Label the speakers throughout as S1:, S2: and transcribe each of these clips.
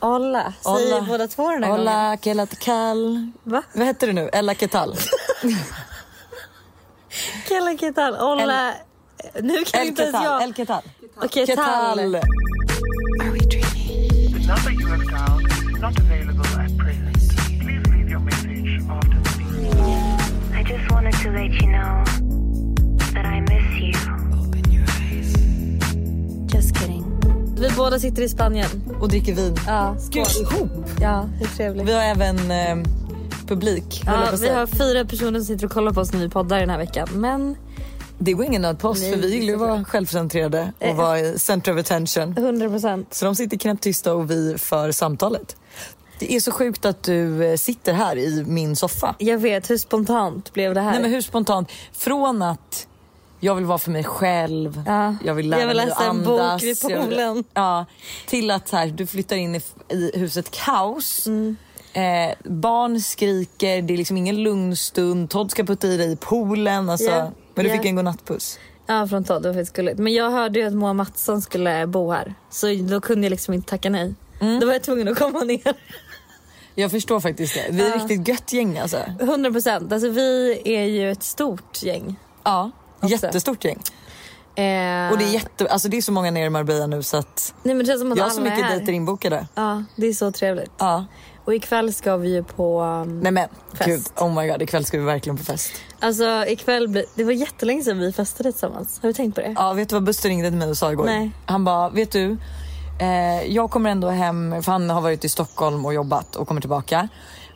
S1: Olla. Säger
S2: Olla.
S1: båda två den här gången.
S2: Hola, que la cal.
S1: Va?
S2: Vad heter du nu? Ella Ketal.
S1: Kella Ketal. Olla. Nu kan
S2: El
S1: inte ens
S2: Ketal.
S1: jag.
S2: El Ketal.
S1: Okej, Tal.
S2: Ketal.
S3: The number you have dialed is not available at present. Please leave your message after the beep.
S4: I just wanted to let you know that I miss you. Just kidding.
S1: Vi båda sitter i Spanien.
S2: Och dricker vin.
S1: Ja,
S2: Gud, ihop.
S1: ja hur trevligt.
S2: Vi har även eh, publik. höll
S1: Ja,
S2: jag på att
S1: vi
S2: säga.
S1: har fyra personer som sitter och kollar på oss när vi poddar den här veckan. Men
S2: Det går ingen nöd på oss
S1: Nej,
S2: för vi gillar
S1: det är Eh,
S2: ju att vara självcentrerade och vara i center of attention.
S1: 100 procent.
S2: Så de sitter knäpptysta och vi för samtalet. Det är så sjukt att du eh, sitter här i min soffa.
S1: Jag vet, hur spontant blev det här?
S2: Nej men hur spontant? Från att jag vill vara för mig själv,
S1: Ja.
S2: jag vill lära
S1: Jag vill
S2: mig
S1: läsa
S2: att
S1: en
S2: andas.
S1: bok vid
S2: jag vill-
S1: poolen.
S2: Ja, till att så här, du flyttar in i, i huset kaos.
S1: Mm.
S2: Eh, barn skriker, det är liksom ingen lugn stund. Todd ska putta i dig i poolen. Alltså.
S1: Ja,
S2: Men du
S1: ja.
S2: fick en godnattpuss.
S1: Ja, från Todd. Det var faktiskt gulligt. Men jag hörde ju att Moa Mattsson skulle bo här. Så då kunde jag liksom inte tacka nej.
S2: Mm.
S1: Då var jag tvungen att komma ner.
S2: Jag förstår faktiskt det. Vi är riktigt gött gäng alltså.
S1: 100 procent. Alltså vi är ju ett stort gäng.
S2: Ja.
S1: Också.
S2: Jättestort gäng.
S1: Eh,
S2: Och det är, jätte, alltså det är så många nere i Marbella nu så att
S1: Nej men det känns som att
S2: jag har
S1: alla
S2: så mycket
S1: är här.
S2: dejter inbokade.
S1: Ja, det är så trevligt.
S2: Ja.
S1: Och ikväll ska vi ju på... um,
S2: Nej men
S1: Fest.
S2: gud, oh my god ikväll ska vi verkligen på fest.
S1: Alltså ikväll blir... Det var jättelänge sedan vi festade tillsammans. Har du tänkt på det?
S2: Ja, vet du vad Buster ringde till mig och sa igår?
S1: Nej.
S2: Han bara, vet du, eh, jag kommer ändå hem, för han har varit i Stockholm och jobbat och kommer tillbaka.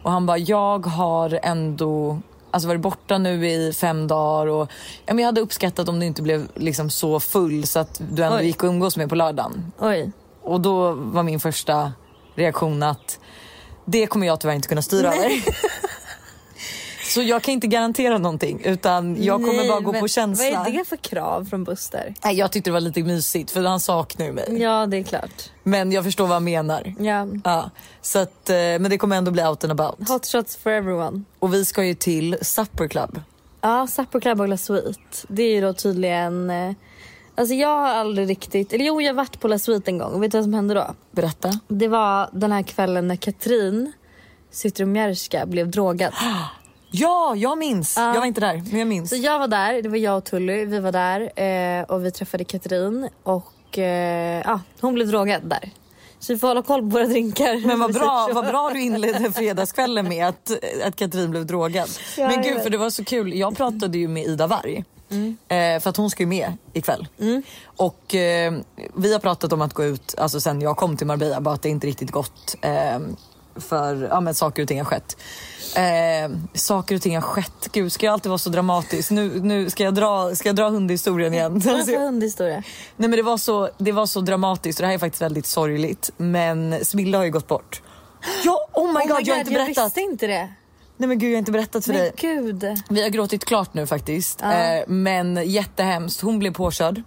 S2: Och han bara, jag har ändå alltså varit borta nu i fem dagar och ja, men jag hade uppskattat om du inte blev liksom så full så att du ändå
S1: Oj.
S2: gick och umgås med på lördagen.
S1: Oj.
S2: Och då var min första reaktion att det kommer jag tyvärr inte kunna styra över. Så jag kan inte garantera någonting utan jag kommer
S1: Nej,
S2: bara gå
S1: men
S2: på känsla.
S1: Vad är det för krav från Buster?
S2: Nej, jag tyckte det var lite mysigt för han saknar ju mig.
S1: Ja, det är klart.
S2: Men jag förstår vad han menar.
S1: Ja.
S2: Ja, så att, eh, men det kommer ändå bli out and about.
S1: Hot shots for everyone.
S2: Och vi ska ju till Supper Club.
S1: Ja, Sappo Club och La Suite. Det är ju då tydligen... eh, Alltså jag har aldrig riktigt... Eller jo, jag har varit på La Suite en gång. Vet du vad som hände då?
S2: Berätta.
S1: Det var den här kvällen när Katrin Zytomierska blev drogad.
S2: Ja, jag minns. Jag var inte där, men jag minns.
S1: Så jag var där, det var jag och Tully. Vi var där eh, och vi träffade Katrin. Och eh, ja, hon blev drogad där. Så vi får hålla koll på våra drinkar.
S2: Men vad bra, vad bra du inledde fredagskvällen med att, att Katrin blev drogad.
S1: Ja,
S2: Men
S1: jag
S2: gud
S1: vet. Mm.
S2: för det var så kul. Jag pratade ju med Ida Varg. Eh, för att hon ska ju med ikväll. Och eh, vi har pratat om att gå ut, alltså sen jag kom till Marbella, bara att det inte riktigt gått. Eh, för ja, men saker och ting har skett. Eh, saker och ting har skett. Gud, ska jag alltid vara så dramatisk? Nu, nu ska, jag dra, ska jag dra hundhistorien igen?
S1: Alltså,
S2: Oh
S1: hundhistoria.
S2: Nej men det var så, det var så dramatiskt och det här är faktiskt väldigt sorgligt. Men Smilla har ju gått bort. Ja, oh my,
S1: Oh my
S2: god,
S1: god,
S2: jag har inte
S1: jag
S2: berättat.
S1: visste inte det.
S2: Nej men gud, jag har inte berättat för
S1: Men
S2: dig.
S1: gud.
S2: Vi har gråtit klart nu faktiskt. Eh, men jättehemskt. Hon blev påkörd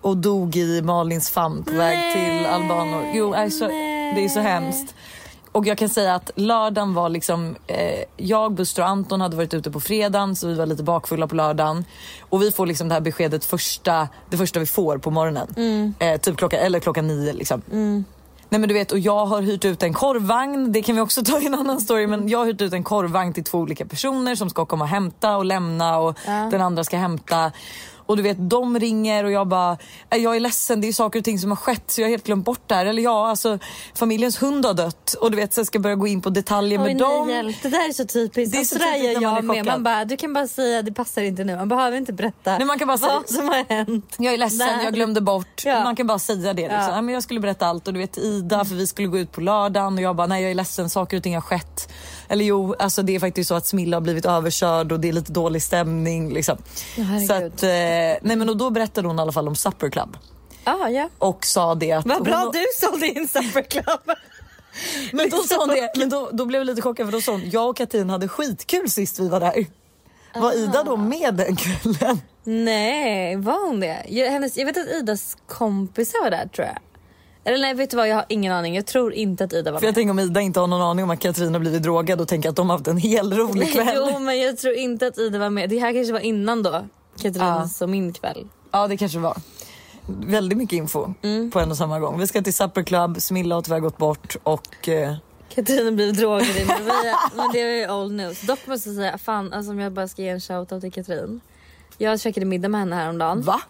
S2: och dog i Malins famn på väg till Albanor. Jo, är så, det är så hemskt. Och jag kan säga att lördagen var liksom, eh, jag, Buster och Anton hade varit ute på fredagen så vi var lite bakfulla på lördagen. Och vi får liksom det här beskedet första, det första vi får på morgonen. Eh, typ klockan, eller klockan nio liksom. Nej men du vet och jag har hyrt ut en korvvagn, det kan vi också ta i en annan story men jag har hyrt ut en korvvagn till två olika personer som ska komma och hämta och lämna och den andra ska hämta. Och du vet de ringer och jag bara, "Nej, jag är ledsen det är saker och ting som har skett så jag har helt glömt bort det här. Eller ja alltså familjens hund har dött och du vet så jag ska börja gå in på detaljer
S1: Oj,
S2: med
S1: nej,
S2: dem.
S1: hjälp. Det där är så typiskt.
S2: Det är
S1: Alltså,
S2: så
S1: där
S2: typiskt
S1: gör
S2: när man
S1: jag
S2: är
S1: med.
S2: chockad.
S1: Man bara, du kan bara säga det passar inte nu. Man behöver inte berätta
S2: Nej, man kan bara säga-
S1: vad som har hänt.
S2: Jag är ledsen,
S1: Nej.
S2: jag glömde bort.
S1: Ja.
S2: Man kan bara säga det. Liksom.
S1: Ja.
S2: Nej, men jag skulle berätta allt och du vet Ida, för vi skulle gå ut på lördagen och jag bara nej jag är ledsen, saker och ting har skett. Eller jo, alltså det är faktiskt så att Smilla har blivit överkörd och det är lite dålig stämning. Liksom.
S1: herregud.
S2: så att, eh, nej, men och då berättade hon i alla fall om Supper Club
S1: Ah, ja.
S2: och sa det att
S1: Vad bra
S2: hon,
S1: du sålde in Supper Club.
S2: Men, då, sa hon det, men då, då blev jag lite chockad för då sa hon jag och Katrin hade skitkul sist vi var där. Var Ida
S1: Ah.
S2: då med den kvällen?
S1: Nej, var hon det? Jag, hennes, jag vet att Idas kompisar var där tror jag. Eller nej, vet du vad? Jag har ingen aning. Jag tror inte att Ida var
S2: För jag
S1: med.
S2: tänker om Ida inte har någon aning om att Katrin har blivit drogad och tänker att de har haft en hel rolig kväll.
S1: Jo, men jag tror inte att Ida var med. Det här kanske var innan då. Katrins och min kväll.
S2: Ja det kanske var. väldigt mycket info
S1: Mm.
S2: på en och samma gång. Vi ska till Supper Club, Smilla har tyvärr gått bort och
S1: Mm.
S2: eh,
S1: Katarina blev drogad i Marbella, men det är ju old news. Dock måste jag säga, fan alltså om jag bara ska ge en shoutout till Katrin. Jag käkade middag med henne häromdagen.
S2: va?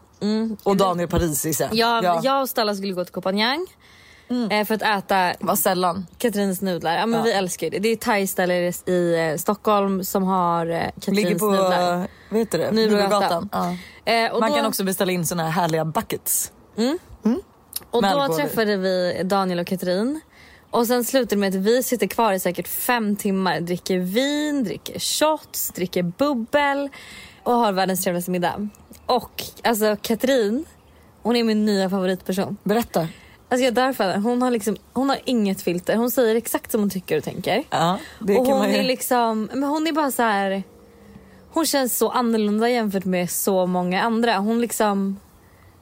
S2: Och Daniel Parisi sen.
S1: Jag, Mm. jag och Stella skulle gå till Copenhagen
S2: Mm.
S1: eh, för att äta
S2: Vad sällan.
S1: Katrins nudlar. Ja, men
S2: Ja.
S1: Vi älskar ju det. Det är thai-ställe i eh, Stockholm som har eh, Katrins
S2: Ligger på,
S1: nudlar.
S2: vad heter det?
S1: Nybrogatan.
S2: Ja.
S1: Eh, och
S2: Man
S1: då,
S2: kan också beställa in såna här härliga buckets.
S1: och
S2: med
S1: då
S2: alkohol i.
S1: träffade vi Daniel och Katrin. Och sen slutade det med att vi sitter kvar i säkert fem timmar, dricker vin, dricker shots, dricker bubbel och har världens trevligaste middag. Och alltså Katrin, hon är min nya favoritperson.
S2: Berätta.
S1: Alltså jag är där för henne. Hon har, liksom, hon har inget filter. Hon säger exakt som hon tycker och tänker.
S2: Ja, det
S1: och
S2: kan
S1: hon
S2: man ju.
S1: är liksom, men hon är bara så här. Hon känns så annorlunda jämfört med så många andra. Hon liksom,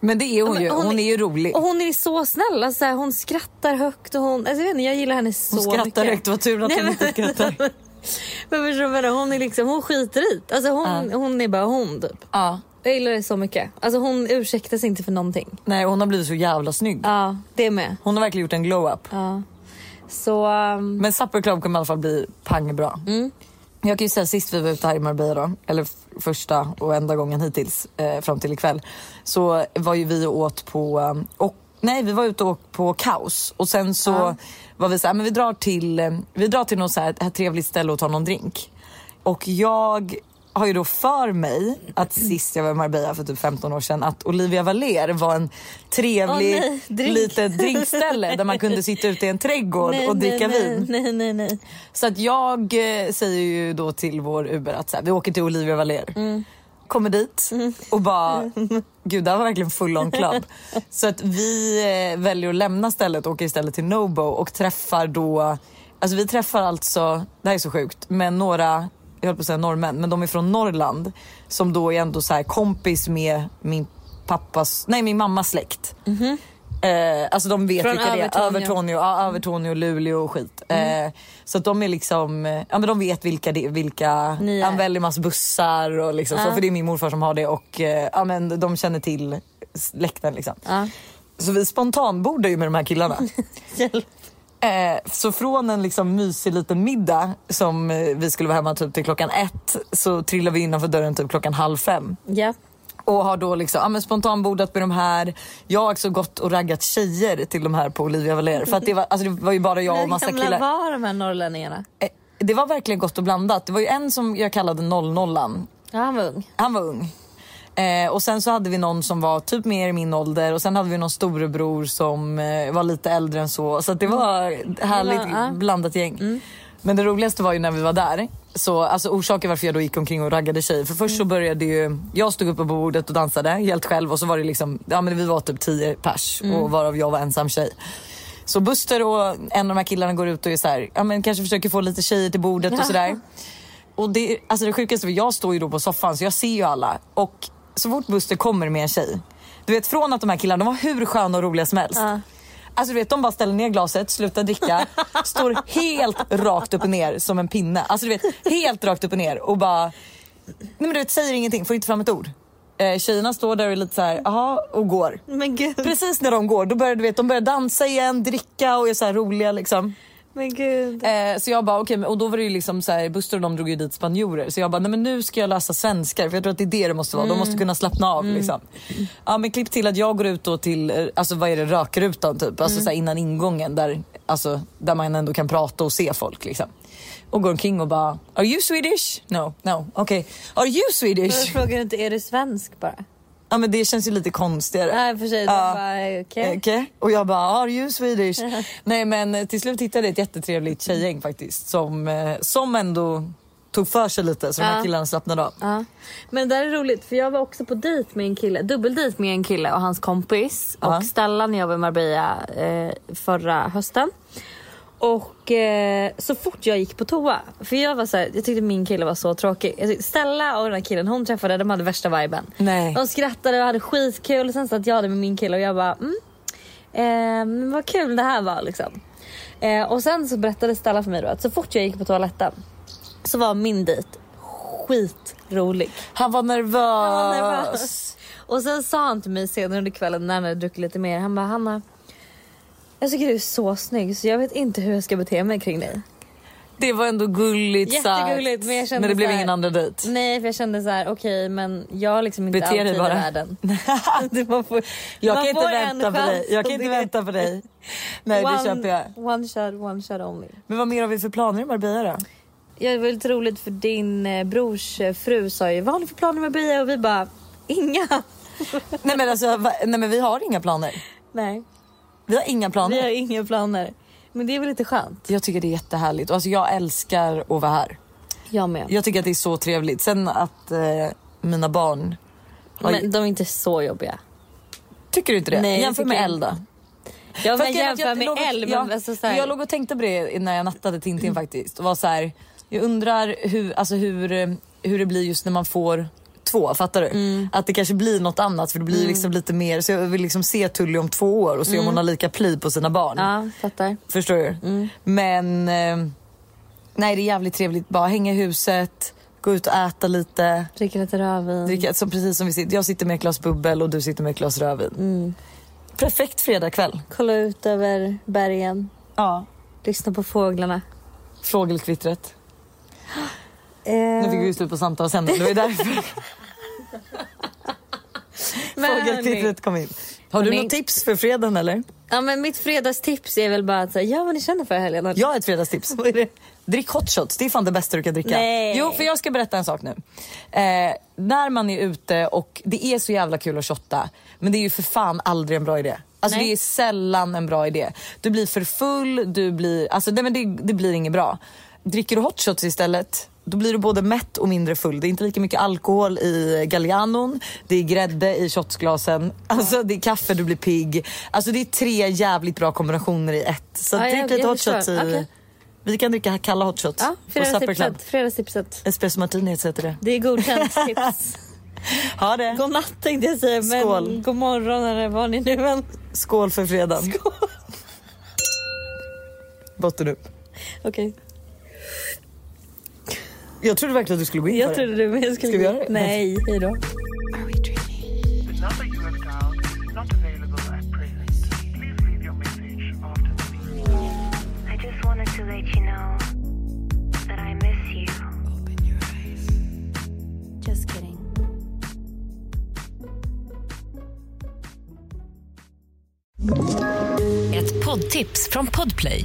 S2: Men det är hon
S1: Ja, men
S2: ju. Hon,
S1: hon-
S2: är ju rolig.
S1: och hon är så snäll. Alltså, så här, hon skrattar högt och hon, alltså, jag, vet inte, jag gillar henne så
S2: Hon skrattar
S1: mycket.
S2: högt. Vad tur att
S1: Nej,
S2: hon inte
S1: men-
S2: skrattar.
S1: Men förstår du vad jag menar? hon är liksom, hon skiter i det. alltså, hon, hon är bara hon typ.
S2: Ja.
S1: Jag gillar det så mycket. Alltså hon ursäktas inte för någonting.
S2: Nej, hon har blivit så jävla snygg.
S1: Ja, det med.
S2: Hon har verkligen gjort en glow-up.
S1: Ja. Så um,
S2: Men Supper Club kommer i alla fall bli pangbra.
S1: Mm.
S2: Jag kan ju säga sist vi var ute här i Marbella, då, eller f- första och enda gången hittills eh, fram till ikväll, så var ju vi och åt på, eh, och, nej vi var ute och åt på Kaos och sen så var vi så här, men vi drar till, eh, vi drar till något så här, här trevligt ställe och tar någon drink. Och jag har ju då för mig att sist jag var i Marbella för typ 15 år sedan att Olivia Valer var en trevlig
S1: Åh, nej, drink.
S2: litet drinkställe där man kunde sitta ute i en trädgård
S1: nej,
S2: och
S1: nej,
S2: dricka
S1: nej,
S2: vin.
S1: Nej, nej, nej.
S2: Så att jag eh, säger ju då till vår Uber att så här, vi åker till Olivia Valer.
S1: Mm.
S2: Kommer dit och bara, gud det här var verkligen full on club. Så att vi eh, väljer att lämna stället och åker istället till Nobo och träffar då, alltså vi träffar alltså, det här är så sjukt, men några, jag höll på att säga norrmän, men de är från Norrland som då är ändå så här kompis med min pappas, nej min mammas släkt. Eh, alltså de vet
S1: Mm-hmm. Från
S2: vilka det
S1: Övertorneå.
S2: är. Övertorneå, ja, Övertorneå, Luleå och skit.
S1: Mm.
S2: Eh, så att de är liksom, eh, ja men de vet vilka det vilka
S1: Ni är.
S2: Anvellimas bussar och liksom så. För det är min morfar som har det och eh, ja men de känner till släkten liksom.
S1: Ja.
S2: Så vi spontanbordar ju med de här killarna. Eh, så från en liksom mysig liten middag som eh, vi skulle vara hemma typ till klockan ett så trillar vi innanför dörren typ klockan halv fem.
S1: Ja.
S2: Och har då liksom, ja, men spontanbordat med de här. Jag har också gått och raggat tjejer till de här på Olivia Valer. För att det, var, alltså det var ju bara jag och massa
S1: Hur gamla
S2: killar.
S1: var de här norrlänningarna?
S2: Eh, Det var verkligen gott och blandat. Det var ju en som jag kallade 00an.
S1: Ja, han var ung.
S2: Han var ung. Eh, och sen så hade vi någon som var typ mer i min ålder och sen hade vi någon storebror som eh, var lite äldre än så. Så att det var ett härligt
S1: Mm. Det var, ja. Mm.
S2: blandat gäng. Men det roligaste var ju när vi var där. Så alltså orsaken varför jag då gick omkring och raggade tjejer. För
S1: Mm.
S2: först så började ju, jag stod uppe på bordet och dansade helt själv och så var det liksom, ja men vi var typ 10 pers
S1: Mm.
S2: och varav jag var ensam tjej. Så Buster och en av de här killarna går ut och är så här, ja men kanske försöker få lite tjejer till bordet och sådär. Och det, alltså det sjukaste, för jag står ju då på soffan så jag ser ju alla. Och så fort Buster kommer med en tjej, du vet från att de här killarna, de var hur sköna och roliga som helst. Alltså du vet, de bara ställer ner glaset, slutar dricka, står helt rakt upp och ner som en pinne. Alltså du vet, helt rakt upp och ner och bara, nej men du vet, säger ingenting, får inte fram ett ord. Eh, tjejerna står där och är lite så här, aha, och går.
S1: Men gud,
S2: Precis när de går, då börjar du vet, de börjar dansa igen, dricka och är så här roliga liksom.
S1: men gud.
S2: Eh, så jag bara okej, men- och då var det ju liksom så här, Buster och de drog ju dit spanjorer så jag bara nej men nu ska jag läsa svenskar för jag tror att det är det det måste vara. De måste kunna slappna av liksom. Ja men klipp till att jag går ut då till, eh, alltså vad är det, rökrutan typ, alltså så här, innan ingången där, alltså, där man ändå kan prata och se folk liksom. Och går omkring och bara are you Swedish? No, no, okej. Are you
S1: Varför
S2: Swedish?
S1: frågar du inte är du svensk bara?
S2: ja men det känns ju lite konstigare.
S1: Nej för sig, de
S2: Ja.
S1: bara okej.
S2: Eh, Okej. Och jag bara, "Ah, are you Swedish? Nej men eh, till slut hittade jag ett jättetrevligt tjejgäng faktiskt som, eh, som ändå tog för sig lite så de här
S1: Ja.
S2: killarna slappnade av.
S1: Ja. Men det där är roligt för jag var också på dejt med en kille, dubbeldejt med en kille och hans kompis
S2: Ja.
S1: och Stella när jag var i Marbella eh, förra hösten. Och eh, så fort jag gick på toa, för jag var så här, jag tyckte min kille var så tråkig. Jag tyckte Stella och den här killen hon träffade, de hade värsta viben.
S2: Nej.
S1: De skrattade och hade skitkul. Sen satt jag där med min kille och jag bara mm, eh, men vad kul det här var liksom. Eh, och sen så berättade Stella för mig då att så fort jag gick på toaletten så var min dejt skitrolig.
S2: Han var nervös.
S1: Han var nervös. Och sen sa han till mig senare under kvällen när han hade druckit lite mer. Han bara Hanna, jag tycker du är så snygg så jag vet inte hur jag ska bete mig kring dig.
S2: Det var ändå gulligt
S1: Jättegulligt,
S2: sagt.
S1: men jag kände
S2: det blev
S1: så här-
S2: ingen andra dejt.
S1: Nej för jag kände så här: okej men jag har liksom inte
S2: Bete
S1: all
S2: dig
S1: tid i
S2: bara.
S1: världen. Det- man får,
S2: Jag
S1: Mm. man
S2: kan inte
S1: får en
S2: vänta på dig.
S1: chans
S2: Jag
S1: och
S2: kan inte
S1: det-
S2: vänta på dig. Nej det köper jag.
S1: One shot, one shot only.
S2: Men vad mer har vi för planer i Marbella då?
S1: Ja, det var lite roligt för din eh, brors eh, fru sa ju vad har ni för planer med Bia? Och vi bara inga.
S2: nej men alltså va, nej men vi har inga planer.
S1: Nej,
S2: Vi har inga planer.
S1: vi har inga planer. Men det är väl lite skönt?
S2: Jag tycker det är jättehärligt och alltså jag älskar att vara här.
S1: Jag med.
S2: Jag tycker att det är så trevligt. Sen att eh, mina barn har...
S1: Men de är inte så jobbiga.
S2: Tycker du inte det?
S1: Nej, jag
S2: Jämför
S1: tycker
S2: med
S1: inte.
S2: Elda.
S1: Jag
S2: Fast
S1: men
S2: grejen är att
S1: jämför med
S2: låg och-
S1: Elle. men
S2: ja,
S1: alltså, så här- Mm.
S2: Jag låg och tänkte på det när jag nattade Tintin faktiskt. Och var så här, jag undrar hur, alltså hur, eh, hur det blir just när man får två, fattar du?
S1: Mm.
S2: Att det kanske blir något annat för det blir liksom lite mer, så jag vill liksom se Tully om två år och se om hon har lika pli på sina barn.
S1: Mm. Ja, fattar.
S2: Förstår du?
S1: Mm.
S2: Men eh, nej det är jävligt trevligt, bara hänga i huset, gå ut och äta lite.
S1: Dricker lite rödvin.
S2: Dricka, som precis som vi sitter, jag sitter med ett glas bubbel och du sitter med ett glas rödvin. Perfekt fredagkväll.
S1: Mm. Kolla ut över bergen.
S2: Ja.
S1: Lyssna på fåglarna.
S2: Fågelkvittret. Nu
S1: Eh,
S2: fick vi ju slut på samtalsämnet. Det var ju därför
S1: men hörni.
S2: fågelkvittret kom in. Har du
S1: Hörni.
S2: något tips för fredagen eller?
S1: Ja, men mitt fredagstips är väl bara att säga ja, vad ni känner för i helgen.
S2: Jag har ett fredagstips. Drick hot shots, det är fan det bästa du kan dricka.
S1: Nej.
S2: Jo, för jag ska berätta en sak nu. Eh, när man är ute och det är så jävla kul att shotta, men det är ju för fan aldrig en bra idé. Alltså
S1: Nej.
S2: det är sällan en bra idé. Du blir för full, du blir, alltså nej, men det, det blir inget bra. Dricker du hot shots istället, då blir du både mätt och mindre full. Det är inte lika mycket alkohol i gallianon, det är grädde i shotsglasen, alltså det är kaffe, du blir pigg. Alltså det är tre jävligt bra kombinationer i ett. Så
S1: Ja,
S2: drick
S1: jag-
S2: lite
S1: jag
S2: hot shots i...
S1: förstår. Okej.
S2: Vi kan dricka kalla hot shots
S1: Ja,
S2: på Supper Club.
S1: fredagstipset. fredagstipset.
S2: Espresso martini heter det.
S1: Det är godkänt tips.
S2: Ha det!
S1: God natt tänkte jag säga, men
S2: Skål.
S1: god morgon eller vad ni nu än...
S2: Skål för fredagen. Botten upp.
S1: Okej,
S2: Jag trodde verkligen att du skulle gå in
S1: jag
S2: för
S1: trodde du men jag skulle...
S2: Ska vi göra det?
S1: Nej, hejdå.
S3: The number you have dialed is not available at present. Please leave your message after the beep.
S4: I just wanted to let you know that I miss you. Open your eyes. Just kidding.
S5: Ett poddtips från Podplay.